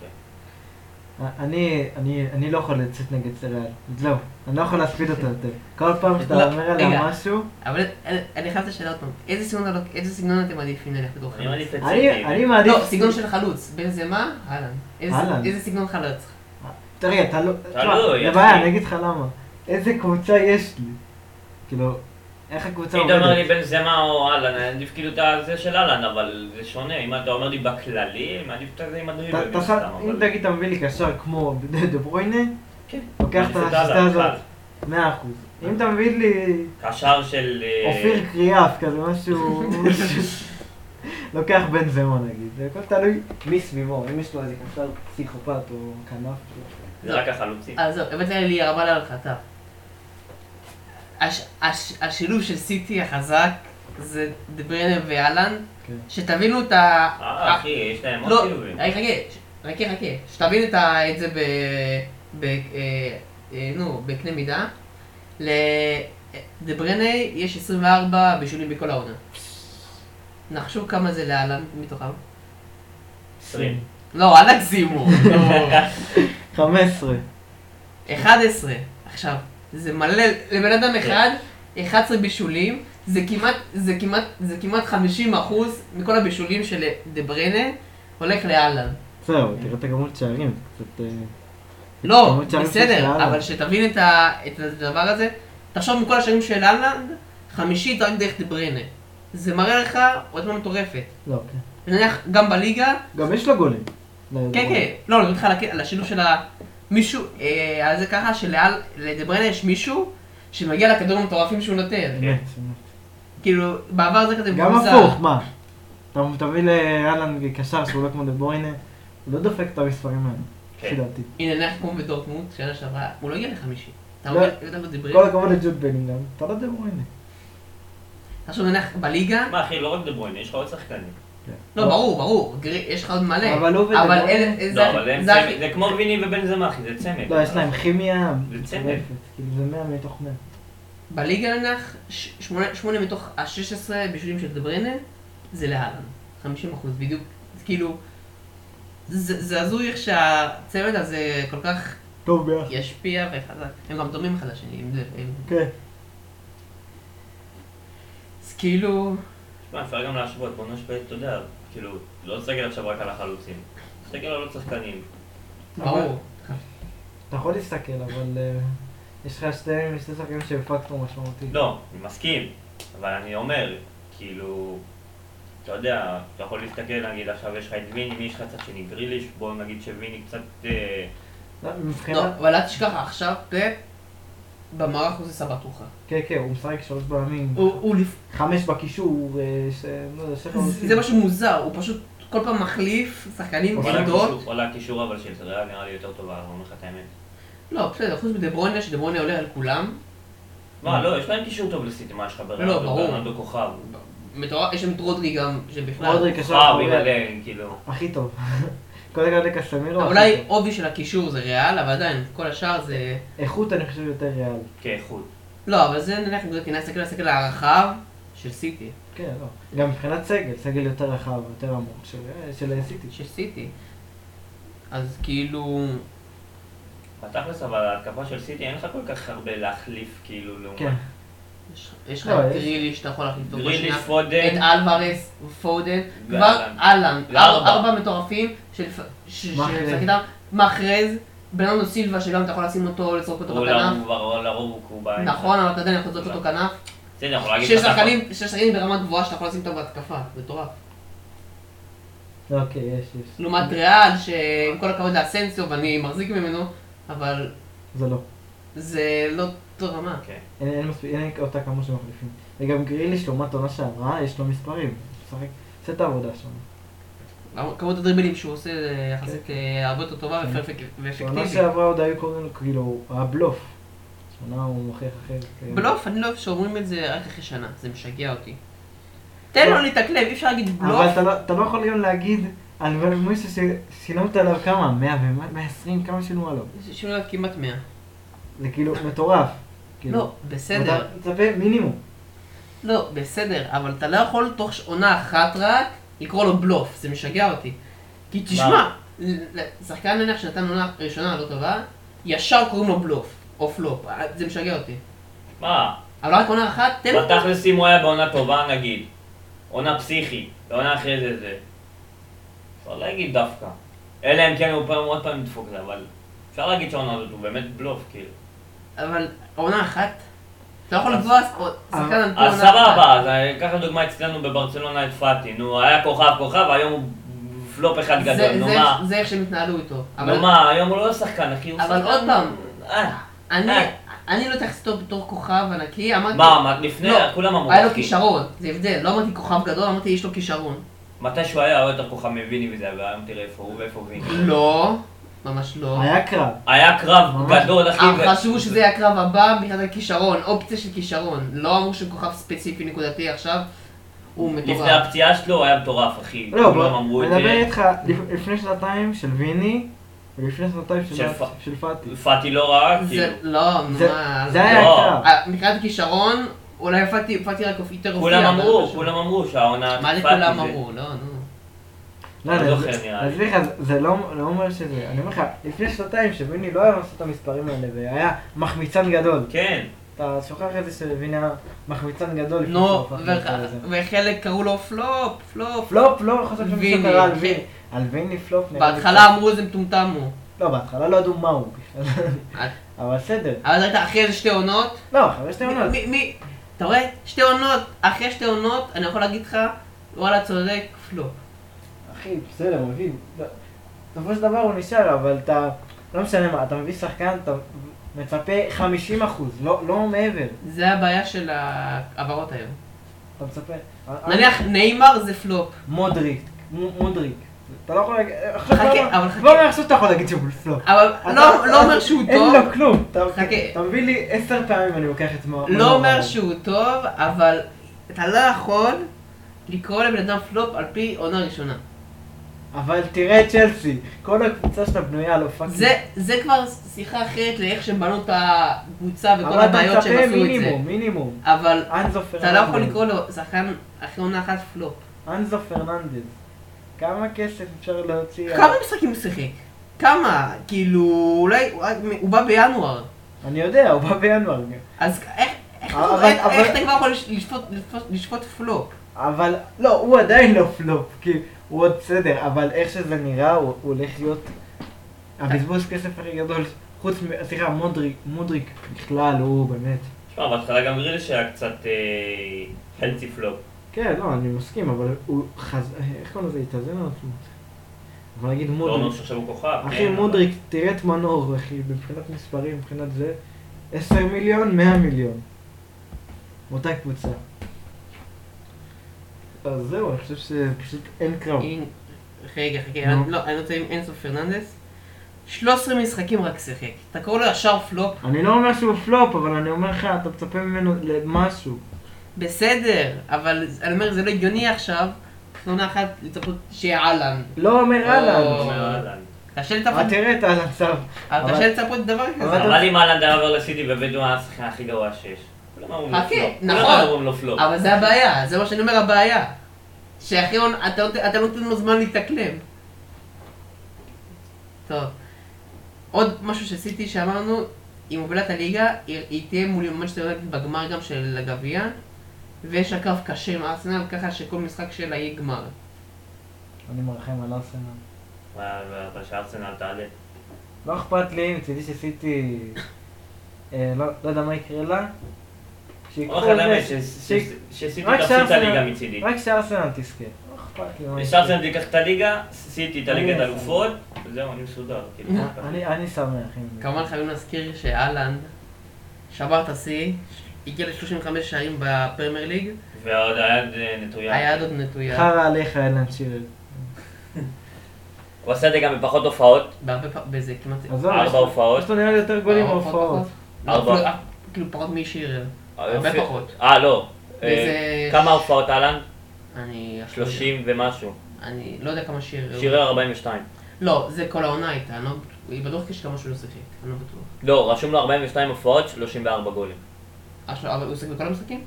A: כן.
C: אני, אני, אני לא יכול לצאת נגד סריאל. זהו, אני לא יכול להספיד אותו יותר. כל פעם שאתה
B: לא,
C: אומר
B: רגע.
C: עליה משהו,
B: אבל אני- אני חייב את השאלה עוד פעם, איזה סגנון אתה- לא- איזה סגנון אתם מעדיפים ללכת בתור
A: אני
B: חלוץ?
A: מעדיף את
C: אני,
A: סייטי.
C: אני מעדיף...
B: לא, סגנון של חלוץ, בנזמה, אהלן. איזה-
C: אהלן.
B: איזה סגנון חלוץ?
C: תראה, אתה לא... תשמע,
A: תלוי,
C: זה בעיה,
A: אחי.
C: אני אגיד לך למה. איזה קבוצה יש לי? כאילו, איך הקבוצה
A: אם אתה אומר לי
C: עובדת?
A: בן זמה או אהלן, אני מעדיף כאילו את הזה של אהלן, אבל זה שונה. אם אתה אומר לי בכללי, אני מעדיף את הזה עם
C: אתה-
A: הדריבל.
C: אתה
A: מן
C: יכול-
A: הסתם,
C: אם
A: אבל-
C: תגיד אתה מביא לי קשר כמו דה דה ברויינה,
A: כן.
C: לוקח את
A: מעדיף את
C: השיטה
A: אהלן,
C: הזאת,
A: בכלל.
C: 100%. אם אתה מביא לי
A: קשר של... אה,
C: אופיר קריאף, כזה משהו... לוקח בן זמה נגיד, זה הכל תלוי מי סביבו, אם יש לו איזה קשר פסיכופת או כנף.
A: זה רק החלוצים.
B: אה, זהו, הבאת לי הרבה על חטא. הש- הש- השילוב של סיטי החזק זה דבריינה ואלן,
C: כן.
B: שתבינו את ה...
A: אה, אחי, יש להם עוד
B: לא,
A: שילובים.
B: רק חכה, ש- חכה, חכה, שתבין את ה- את זה ב... ב... אה, אה, נו, בקנה מידה. לדבריינה יש 24 בישולים בכל העונה. נחשו כמה זה לאלן מתוכם.
A: 20.
B: לא, אל תגזימו. נו.
C: 15.
B: 11. עכשיו, זה מלא, לבן
A: כן.
B: אדם אחד, 11 בישולים, זה כמעט, זה כמעט, זה כמעט 50 אחוז מכל הבישולים של דה בריינה הולך לאלן.
C: זהו, תראה את הכמות שערים, זה קצת... אה,
B: לא,
C: כמות שערים שיש
B: בסדר,
C: לאלן.
B: אבל שתבין את, ה, את הדבר הזה, תחשוב מכל השערים של אהלן, חמישית רק דרך דה בריינה. זה מראה לך עוצמה מטורפת.
C: לא, כן.
B: נניח, גם בליגה,
C: גם יש לו גולים.
B: כן, כן, לא, אני מדבר איתך על הכ- על השילוב של ה... מישהו, אה, על זה ככה שלדבריינה יש מישהו שמגיע לכדורים המטורפים שהוא נותן.
C: אמת,
B: כאילו, בעבר כן. זה כזה
C: אמת. גם
B: מוזר.
C: הפוך, מה? אתה תביא לאלן קשר שהוא לא כמו דה ברויינה, הוא לא דופק את המספרים האלה, לפי
A: כן.
C: דעתי.
B: הנה, נניח כמו בדורטמונד, שנה שעברה, הוא לא הגיע לחמישי. אתה
C: לא.
B: אומר, הבאת לו דבריינה.
C: כל הכבוד לג'וד בלינגהם, אתה לא דה ברויינה.
B: עכשיו נניח בליגה,
A: מה אחי, לא רק דה ברויינה, יש לך עוד שחקנים.
B: לא, ברור, ברור, גרי- יש לך עוד מלא.
C: אבל הוא
B: אבל
C: ודבריינה-
B: אלה- אלה-
A: לא,
B: זה-
A: אבל הם
B: זה
A: צמד,
B: הכי-
A: זה כמו ויני ובן זמה אחי, זה צמד.
C: לא, יש להם כימיה
A: זה צמד.
C: מטורפת, כאילו זה 100 מתוך 100.
B: בליגה נניח, ש- שמונה שמונה מתוך ה-16 בישולים של דבריינה, זה להלן. 50 אחוז, בדיוק. זה כאילו, זה זה הזוי איך שהצוות הזה כל כך
C: טוב ביחד.
A: כן.
B: ישפיע וחזק. הם גם דומים אחד לשני, אם זה... אם-
C: כן.
B: אז כאילו...
A: תשמע, אפשר גם להשוות, בוא נשווה, אתה יודע, כאילו, לא תסתכל עכשיו רק על החלוצים. תסתכל על עוד שחקנים.
B: ברור.
C: אתה יכול להסתכל, אבל אה, יש לך שתי שתי שחקנים שהם פקטור משמעותי.
A: לא, אני מסכים, אבל אני אומר, כאילו, אתה יודע, אתה יכול להסתכל, נגיד עכשיו יש לך את ויני, מי יש לך צד שני? גריליש, בוא נגיד שוויני קצת... אה,
C: לא,
B: לא,
C: מבחינת...
B: אבל אל תשכח, עכשיו פפ במערך הוא זה סבתוכה.
C: כן, כן, הוא משחק שלוש בלמים,
B: לא. הוא, הוא, לפ-
C: חמש בקישור, אה, ש... לא יודע, שחר
B: זה- זה משהו מוזר, הוא פשוט כל פעם מחליף שחקנים
A: כל
B: עמדות.
A: הקישור- כל הקישור אבל של זה נראה לי יותר טובה, אני אומר לך את האמת.
B: לא, בסדר, חוץ מדברוינה, שדברוינה עולה על כולם.
A: מה, לא, יש להם קישור טוב לסיטי, מה יש לך ברנדו?
B: לא, ברור.
A: ברנדו כוכב.
B: מטורף, יש שם את רודרי גם, שבכלל...
C: רודרי קשר
A: כוכב עם
C: אחורי,
A: הלן, כאילו.
C: הכי טוב. כל הכבוד לקסמירו. הכי
B: אולי
C: טוב.
B: עובי של הקישור זה ריאל, אבל עדיין, כל השאר זה...
C: איכות אני חושב יותר ריאל.
A: כאיכות.
B: לא, אבל זה נניח, כי נסתכל על הסגל הרחב של סיטי.
C: כן, לא. גם מבחינת סגל, סגל יותר רחב, יותר עמוק, של- של סיטי.
B: של סיטי. אז כאילו...
A: בתכלס, אבל ההתקפה של סיטי אין לך כל כך הרבה להחליף, כאילו, לעומת...
C: כן.
B: יש- יש לך
C: לא,
B: את
C: יש.
B: גרילי שאתה יכול להחליף אותו
A: גריליש,
B: בשנייה. את
A: פודן,
B: אלוורס ופודן, כבר
A: ואלן.
B: אהלן,
A: וארבע.
B: ארבע מטורפים, של ש-
C: מאחרז.
B: שמשחק איתם, מאחרז, ברנדו סילבה שגם אתה יכול לשים אותו, לזרוק אותו
A: הוא
B: בכנף,
A: לרוב- הוא לרוב הוא בעין.
B: נכון, אבל אתה עדיין יכול לזרוק אותו כנף,
A: בסדר, יכול להגיד
B: שש
A: לך לא ככה.
B: שחקנים, שש שחקנים ברמה גבוהה שאתה יכול לשים אותם בהתקפה, מטורף.
C: אוקיי, יש, יש.
B: לעומת ריאל, שעם כל הכבוד לאסנסיו ואני מחזיק ממנו, אבל
C: זה לא.
B: זה לא אותו רמה.
A: כן.
C: אין- אין מספיק, אין אותה כמות שמחליפים. וגם גריליש, לעומת עונה שעברה, יש לו מספרים. הוא משחק, עושה את העבודה שם.
B: כמות הדריבלים שהוא עושה זה יחסית אה, הרבה יותר טובה
C: כן.
B: ואפקטיבית.
C: בעונה שעברה עוד היו קוראים לו, כאילו, הוא היה בלוף. השנה הוא מוכיח אחרת. כאילו.
B: בלוף, אני לא אוהב שאומרים את זה רק אחרי שנה, זה משגע אותי. תן לו להתאקלב, אי אפשר להגיד
C: לא. אבל
B: בלוף.
C: אתה לא- אתה לא יכול גם להגיד על מישהו ששילמת עליו כמה? 100 ו-120? כמה שילמו עליו?
B: זה שינוי עד כמעט 100.
C: זה כאילו מטורף. כאילו.
B: לא, בסדר.
C: אתה מצפה מינימום.
B: לא, בסדר, אבל אתה לא יכול תוך ש- עונה אחת רק לקרוא לו בלוף, זה משגע אותי. כי תשמע, שחקן נניח שנתן עונה ראשונה לא טובה, ישר קוראים לו בלוף, או פלופ, אה, זה משגע אותי.
A: מה?
B: אבל רק עונה אחת, תן לו...
A: בתכלס אם הוא היה בעונה טובה נגיד, עונה פסיכית, ועונה אחרי זה זה. אפשר להגיד דווקא. אלא אם כן הוא פעם עוד פעם ידפוק זה, אבל אפשר להגיד שהעונה הזאת הוא באמת בלוף, כאילו.
B: אבל עונה אחת? אתה לא יכול לקבוע שחקן על פי עונה
A: אז
B: אחת.
A: סבבה, אז אה, קח לדוגמה אצלנו בברצלונה את פאטי, נו, היה כוכב כוכב, היום הוא פלופ אחד
B: זה-
A: גדול, נו
B: זה-
A: מה?
B: זה איך שהם התנהלו איתו. אבל
A: נו מה, היום הוא לא שחקן, אחי, הוא שחקן...
B: אבל עוד פעם.
A: אה,
B: אני-
A: אה.
B: אני לא התייחסתי אותו בתור כוכב ענקי, אמרתי...
A: מה, מה, אוקיי. לפני,
B: לא,
A: כולם אמרו...
B: היה לו
A: אחי.
B: כישרון, זה הבדל, לא אמרתי כוכב גדול, אמרתי יש לו כישרון.
A: מתי שהוא היה, היה יותר כוכב מוויני וזה, והיום תראה איפה הוא ואיפה ויני.
B: לא, ממש לא.
C: היה קרב.
A: היה קרב
C: ממש.
A: גדול, אחי.
B: אה,
A: ו-
B: חשבו שזה יהיה הקרב הבא מבחינת הכישרון, אופציה של כישרון. לא אמרו שכוכב ספציפי נקודתי עכשיו, הוא
A: לפני
B: מטורף.
A: הפציעה שלו הוא היה מטורף, אחי.
C: לא,
A: כולם
C: בוא,
A: אמרו את
C: אני מדבר
A: זה.
C: איתך לפ- לפני שנתיים של ויני, ולפני שנתיים של
A: של
C: דת-
A: פ-
C: של פאטי.
A: פאטי לא רע, כאילו.
B: זה לא,
C: זה-
B: מה...
C: זה היה
A: לא.
C: הקרב.
B: אה, מבחינת כישרון, אולי הופעתי הופעתי רק יותר הופיע.
A: כולם
B: אבל
A: אמרו,
B: משהו.
A: כולם אמרו שהעונה...
B: מה זה
A: פאטי
B: כולם
A: זה-
B: אמרו? לא, נו.
C: לא,
A: אני
C: אני-
A: זוכר, נראה לי.
C: אז סליחה, זה- זה לא לא אומר שזה, אני אומר לך, לפני שנתיים שוויני לא היה עושה את המספרים האלה, והיה מחמיצן גדול.
A: כן.
C: אתה שוכח את זה שוויני היה מחמיצן גדול לפני שהוא
B: נו,
C: הפך
B: וח-
C: להיות זה.
B: וחלק קראו לו פלופ, פלופ.
C: פלופ, לא חושב שמישהו
B: ויני,
C: קרא על
B: כן.
C: ויני. על ויני פלופ נראה לי
B: בהתחלה
C: פלופ.
B: אמרו איזה מטומטם הוא.
C: לא, בהתחלה לא ידעו מה הוא בכלל.
B: אה.
C: אבל בסדר.
B: אבל אתה אחרי איזה שתי עונות,
C: לא, אחרי שתי עונות.
B: מי- מי, אתה רואה? שתי עונות, אחרי שתי עונות, אני יכול להגיד לך, וואלה צודק, לא.
C: אחי, בסדר, מבין. בסופו של דבר הוא נשאר, אבל אתה... לא משנה מה, אתה מביא שחקן, אתה מצפה 50 אחוז, לא מעבר.
B: זה הבעיה של ההעברות היום.
C: אתה מצפה...
B: נניח ניימר זה פלופ.
C: מודריק, מ- מודריק. אתה לא יכול להגיד... עכשיו
B: חכה,
C: למה-
B: אבל חכה.
C: כבר מעכשיו אתה יכול להגיד שהוא פלופ.
B: אבל לא- לא אומר שהוא טוב,
C: אין לו כלום. אתה-
B: חכה.
C: אתה מביא לי עשר פעמים אני לוקח את מה... מה
B: לא אומר
C: אמרנו.
B: שהוא טוב, אבל אתה לא יכול לקרוא לבן אדם פלופ על פי עונה ראשונה.
C: אבל תראה את צ'לסי, כל הקבוצה לא שלה בנויה על אופקים.
B: זה- זה כבר שיחה אחרת לאיך שהם בנו את הקבוצה וכל
C: אבל אתה
B: הבעיות שהם
C: מצפה
B: עשו את זה.
C: מינימום, מינימום.
B: אבל
C: אנזו פרננדז.
B: אתה לא יכול לקרוא לו שחקן אחרי עונה אחת פלופ.
C: אנזו פרננדז. כמה כסף אפשר להוציא?
B: כמה משחקים הוא שיחק? כמה? כאילו, אולי הוא- הוא בא בינואר.
C: אני יודע, הוא בא בינואר גם.
B: אז איך- איך
C: אבל-
B: אתה- איך-
C: אבל-
B: איך אתה כבר יכול לש- לשפוט- לשפוט- לשפוט פלופ?
C: אבל לא, הוא עדיין לא פלופ, כי הוא עוד בסדר, אבל איך שזה נראה, הוא הוא הולך להיות הבזבוז כסף הכי גדול, חוץ מ... סליחה, מודריק, מודריק בכלל, הוא באמת.
A: תשמע, בהתחלה גם גריליש היה קצת אה, חלצי פלופ.
C: כן, לא, אני מסכים, אבל הוא חז... איך קוראים לזה? התאזן על עצמו. אבל נגיד
A: לא אומר
C: מודריק.
A: שעכשיו הוא כוכב.
C: אחי
A: כן, אבל-
C: מודריק, תראה את מנור, אחי, מבחינת מספרים, מבחינת זה, 10 מיליון, 100 מיליון. מאותה קבוצה. אז זהו, אני חושב שפשוט אין קרב.
B: אין- רגע, חכה,
C: נו.
B: אני- לא, אני רוצה עם אינסוף פרננדס. 13 משחקים רק שיחק. אתה קורא לו ישר פלופ?
C: אני לא אומר שהוא פלופ, אבל אני אומר לך, אתה מצפה ממנו למשהו.
B: בסדר, אבל אני אומר, זה לא הגיוני עכשיו. אחרי עונה אחת לצפות שיהיה אהלן.
C: לא אומר
A: הוא
C: אהלן.
A: אומר, אהלן.
B: קשה
C: אבל
B: לצפות-
C: תראה את אהלן סב.
B: אבל
C: אבל-
B: קשה לצפות דבר כזה.
C: אבל-
A: אבל אם אהלנד היה עובר לסיטי בבית הוא היה השחקן הכי גרוע שיש. כולם אמרו לו
B: חכה,
A: פלופ.
B: נכון.
A: כולם אמרו לו פלופ.
B: אבל זה הבעיה, זה מה שאני אומר הבעיה. שאחי, אתה לא- אתה לא נותן לו זמן להתאקלם. טוב. עוד משהו שעשיתי שאמרנו, היא מובילה את הליגה, היא היא תהיה מול מנצ'סטר יונטד בגמר גם של הגביע, ויש לה קרב קשה עם ארסנל, ככה שכל משחק שלה יהיה גמר.
C: אני מרחם על ארסנל.
A: אבל אבל שארסנל תעלה.
C: לא אכפת לי, מצידי שעשיתי... אה, לא לא יודע מה יקרה לה. שיקחו
A: אורך האמת
C: את זה, ש-
A: שסיטי
C: רק
A: תפסיד את
C: שארסנל-
A: הליגה מצידי.
C: רק שארסנל תזכה. לא אכפת לי. מה יקרה.
A: שארסנל תיקח את הליגה, סיטי את הליגת
B: אה.
C: אני-
A: אלופות, וזהו, אני מסודר. כאילו.
C: אני אני שמח. אם-
B: כמובן חייבים להזכיר שאהלנד שבר את השיא, הגיע ל-35 שערים בפרמייר ליג,
A: ועוד היד אה, נטויה.
B: היד עוד נטויה,
C: חרא עליך אלן שירר.
A: הוא עשה את זה גם בפחות הופעות,
B: בהרבה פ... בזה כמעט...
C: עזוב,
A: ארבע
C: יש לו-
A: הופעות. נכון.
C: יש לו נראה לי יותר גולים
B: ארבע
C: מהופעות.
B: לא,
A: ארבע.
B: אפילו- כאילו פחות משירר. הרבה
A: יופי.
B: פחות.
A: אה, לא. אה,
B: וזה-
A: כמה הופעות אהלן?
B: אני... אפילו-
A: 30 ומשהו.
B: אני לא יודע כמה שירר.
A: שירר 42. לא,
B: לא, זה כל העונה הייתה, אני לא... היא בטוח יש כמה שהוא לא שיחק, אני לא בטוח.
A: לא, רשום לו 42 הופעות, 34 גולים.
B: אה, שלא- אבל הוא שיחק בכל המשחקים?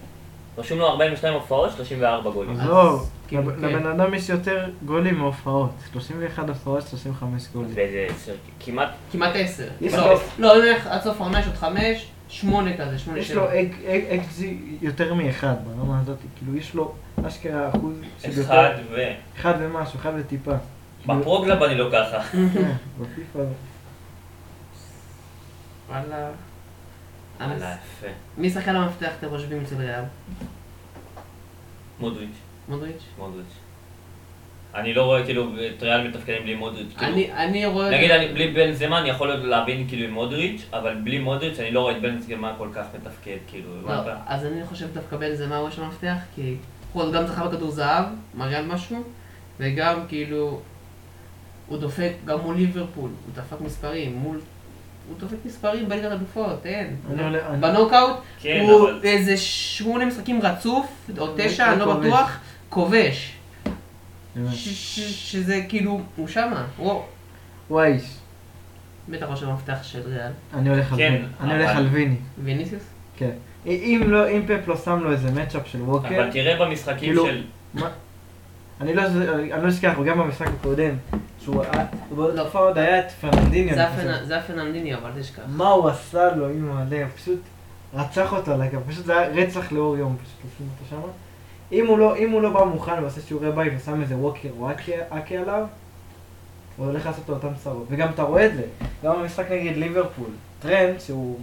A: רשום לו 42 הופעות, 34 גולים.
C: עזוב,
B: כאילו,
C: לב-
B: כן.
C: לבן אדם יש יותר גולים מהופעות. 31 הופעות, 35
B: אוקיי.
C: גולים.
A: באיזה עשר, כמעט,
B: כמעט עשר.
C: יש
B: לא,
C: לו-
B: לא, אני הולך עד סוף העונה יש עוד חמש, שמונה כזה, שמונה
C: יש לו אה-
B: שבע.
C: אג- אג- אקזי יותר מאחד ברמה הזאת. כאילו, יש לו אשכרה אחוז של יותר-
A: אחד ו...
C: אחד ומשהו, אחד וטיפה. כאילו,
A: בפרוגלב
B: אה,
A: אני לא ככה.
C: כן, בפיפ"א.
B: וואלה. אז
A: וואלה, יפה.
B: מי שחקן המפתח אתם חושבים אצל ריאל?
A: מודריץ',
B: מודריץ'?
A: מודריץ'. אני לא רואה כאילו את ריאל מתפקדים בלי מודריץ'. כאילו,
B: אני- אני רואה...
A: נגיד אני, בלי בן זמן אני יכול עוד להבין כאילו עם מודריץ', אבל בלי מודריץ' אני לא רואה את בן זמן כל כך מתפקד, כאילו,
B: לא,
A: הבנת?
B: אז אני חושב דווקא בן זמה הוא יש לו מפתח, כי הוא גם זכה בכדור זהב, מראה על משהו, וגם כאילו, הוא דופק גם מול ליברפול, הוא דפק מספרים, מול... הוא דופק מספרים בליגת אלופות, אין.
C: אני עולה- אני-
B: בנוקאוט,
A: כן,
B: הוא
A: אבל- כן,
B: איזה שמונה משחקים רצוף, או
C: הוא-
B: תשע,
C: הוא
B: אני לא
C: כובש.
B: בטוח, כובש.
A: כן.
C: באמת.
B: ש- ש- שזה כאילו, הוא שמה, הוא
C: הוא האיש.
B: בטח ראש המפתח של ריאל.
C: אני הולך על
A: כן,
C: ויני. אני הולך
A: אבל-
C: על ויני.
B: ויניסיוס?
C: כן. אם לא, אם פפ לא שם לו איזה מצ'אפ של ווקר,
B: אוקיי.
A: אבל כן. תראה במשחקים
C: כאילו-
A: של...
C: אני לא אני לא אשכח, הוא גם במשחק הקודם, שהוא היה- בהתקפה עוד היה את פרנדיני.
B: זה
C: אני חושב.
B: הפנ- זה הפננדיני, אבל תשכח.
C: מה הוא עשה לו עם הלב? פשוט רצח אותו על הגב, פשוט זה היה רצח לאור יום, פשוט לשים אותו שמה. אם הוא לא, אם הוא לא בא מוכן ועושה שיעורי בית ושם איזה ווקר או אקי אקי עליו, הוא הולך לעשות לו אותם צרות. וגם אתה רואה את זה, גם במשחק נגד ליברפול, טרנד שהוא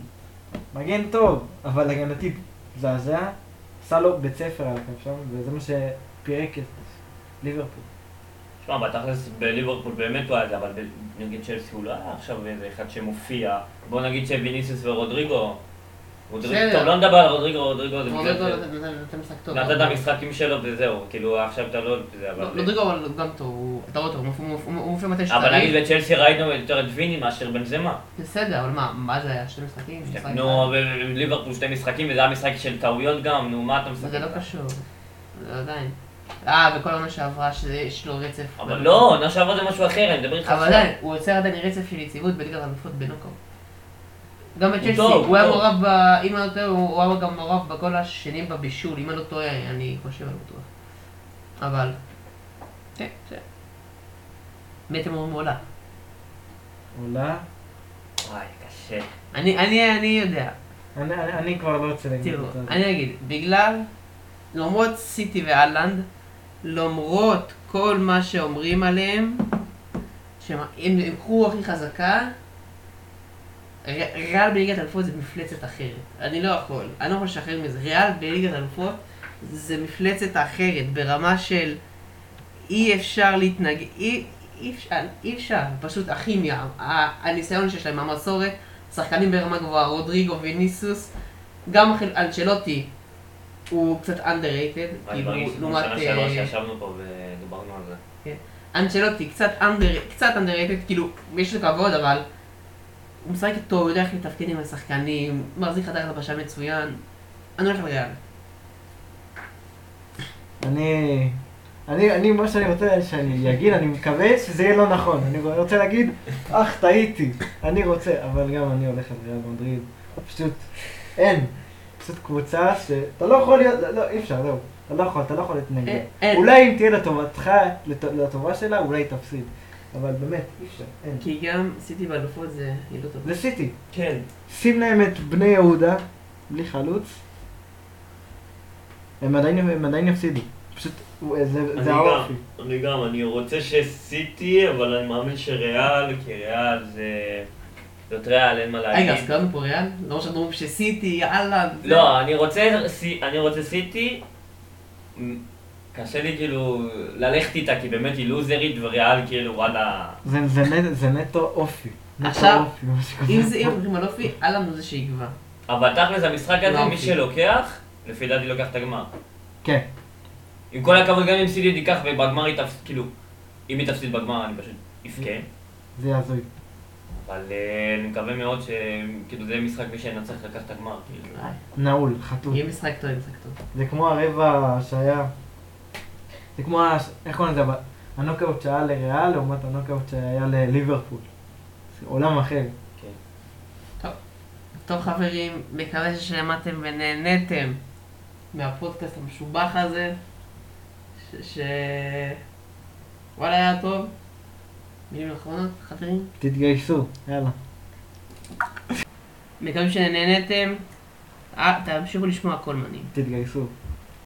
C: מגן טוב, אבל הגנתית זעזע, עשה לו בית ספר על הכף שם, וזה מה שפירק את ליברפול.
A: תשמע, בתכלס בליברפול באמת הוא היה זה, אבל ב- נגיד צ'לסי הוא לא היה עכשיו איזה אחד שמופיע. בוא נגיד שוויניסיוס ורודריגו... רודריגו,
B: בסדר. לא,
A: טוב, לא נדבר על רודריגו, רודריגו זה
B: רודריגו
A: בגלל... זה.
B: נתן- נתן- נתן משחק טוב.
A: נתת את המשחקים שלו וזהו, כאילו עכשיו אתה לא... זה, אבל-
B: לא, רודריגו אה, אבל הוא גם טוב, הוא- אתה רואה אותו, הוא מופיע- הוא מופיע- הוא מופיע מתי
A: אבל
B: שצריך.
A: נגיד בצ'לסי ראינו יותר את ויני מאשר בנזמה.
B: בסדר, אבל מה, מה זה היה? שני משחקים? משחק
A: כן, נו,
B: אחד?
A: אבל ליברפול שתי משחקים, וזה היה משחק של טעויות גם, נו, מה אתה משחק?
B: זה לא
A: איתה?
B: קשור, זה עדיין. אה, וכל עונה שעברה שיש לו רצף.
A: אבל לא, עונה שעברה זה משהו אחר, אני מדבר איתך
B: אבל
A: עכשיו.
B: עדיין, הוא יוצר עדיין רצף של יציבות בליגת האלופות בנוקאוט. גם בצ'לסי,
A: טוב,
B: הוא היה
A: טוב.
B: מעורב, ב- אם אני לא טועה, הוא הוא היה גם מעורב בגול השני בבישול, אם אני לא טועה, אני חושב, אני לא בטוח. אבל... כן, בסדר. מי אתם אומרים עולה?
C: עולה?
A: וואי, קשה.
B: אני, אני, אני יודע.
C: אני, אני, אני כבר לא רוצה להגיד
B: תראו,
C: את זה.
B: אני אגיד, בגלל, למרות סיטי ואלנד, למרות כל מה שאומרים עליהם, שהם הם לקחו הכי חזקה, ר- ריאל בליגת אלפות זה מפלצת אחרת. אני לא יכול, אני לא יכול לשחרר מזה. ריאל בליגת אלפות זה מפלצת אחרת, ברמה של אי אפשר להתנגד, אי, אי אפשר, אי אפשר, פשוט הכימיה, ה- הניסיון שיש להם, המסורת, שחקנים ברמה גבוהה, רודריגו וניסוס, גם החל- אנצ'לוטי הוא קצת underrated,
A: אני
B: כאילו,
A: מרגיש כמו
B: לעומת...
A: שנה
B: אה,
A: שעברה שישבנו פה ודיברנו על זה.
B: אנצ'לוטי קצת under, קצת underrated, כאילו, יש לו כבוד, אבל הוא משחק איתו, הוא יודע איך לתפקד עם השחקנים, מחזיק חדר לבשה מצוין. אני הולך לריאל.
C: אני, אני, אני, מה שאני רוצה שאני אגיד, אני מקווה שזה יהיה לא נכון. אני רוצה להגיד, אך, טעיתי. אני רוצה, אבל גם אני הולך על ריאל מדריד. פשוט, אין. פשוט קבוצה שאתה לא יכול להיות, לא, אי אפשר, זהו. אתה לא יכול, אתה לא יכול להתנגד.
B: אין- אין.
C: אולי אם תהיה לטובתך, לט- לטובה שלה, אולי תפסיד. אבל באמת, אי אפשר, אין.
B: כי גם סיטי באלופות זה היא לא טובה.
C: זה סיטי.
A: כן.
C: שים להם את בני יהודה, בלי חלוץ, הם עדיין, הם עדיין יפסידו. פשוט, הוא- זה,
A: אני
C: זה
A: גם.
C: האופי.
A: אני גם, אני רוצה שסיטי, אבל אני מאמין שריאל, כי ריאל זה... זאת ריאל, אין מה להגיד.
B: רגע, אז קראנו פה ריאל? לא שאתם אומרים שסיטי, יאללה. זה-
A: לא, אני רוצה, סי- אני רוצה סיטי. מ- קשה לי כאילו ללכת איתה, כי באמת היא לוזרית וריאל כאילו וואלה.
C: זה, זה, נט, זה נטו אופי. נטו
B: עכשיו,
C: אופי, מה שקורה.
B: אם זה אם מדברים על אופי, אהלן הוא זה שיקבע.
A: אבל תכל'ס המשחק הזה,
B: לא,
A: מי
B: כי-
A: שלוקח, לפי דעתי לוקח את הגמר.
C: כן.
A: עם כל הכבוד, גם אם סיטי תיקח ובגמר היא תפסיד, כאילו, אם היא תפסיד בגמר אני פשוט אבכה.
C: זה יהיה הזוי.
A: אבל אה, אני מקווה מאוד שכאילו זה משחק מי שינצח לקח את הגמר, כאילו.
B: אה,
C: נעול, חתול.
B: יהיה משחק טוב, יהיה משחק טוב.
C: זה כמו הרבע שהיה... זה כמו, ה- איך קוראים לזה? אבל הנוקאוט שהיה לריאל לעומת הנוקאוט שהיה לליברפול. זה עולם אחר.
B: טוב חברים, מקווה ששמעתם ונהנתם מהפודקאסט המשובח הזה, ש... ש... וואלה היה טוב. מילים אחרונות, חברים.
C: תתגייסו, יאללה.
B: מקווים שנהנתם. אה, תמשיכו לשמוע קולמנים.
C: תתגייסו.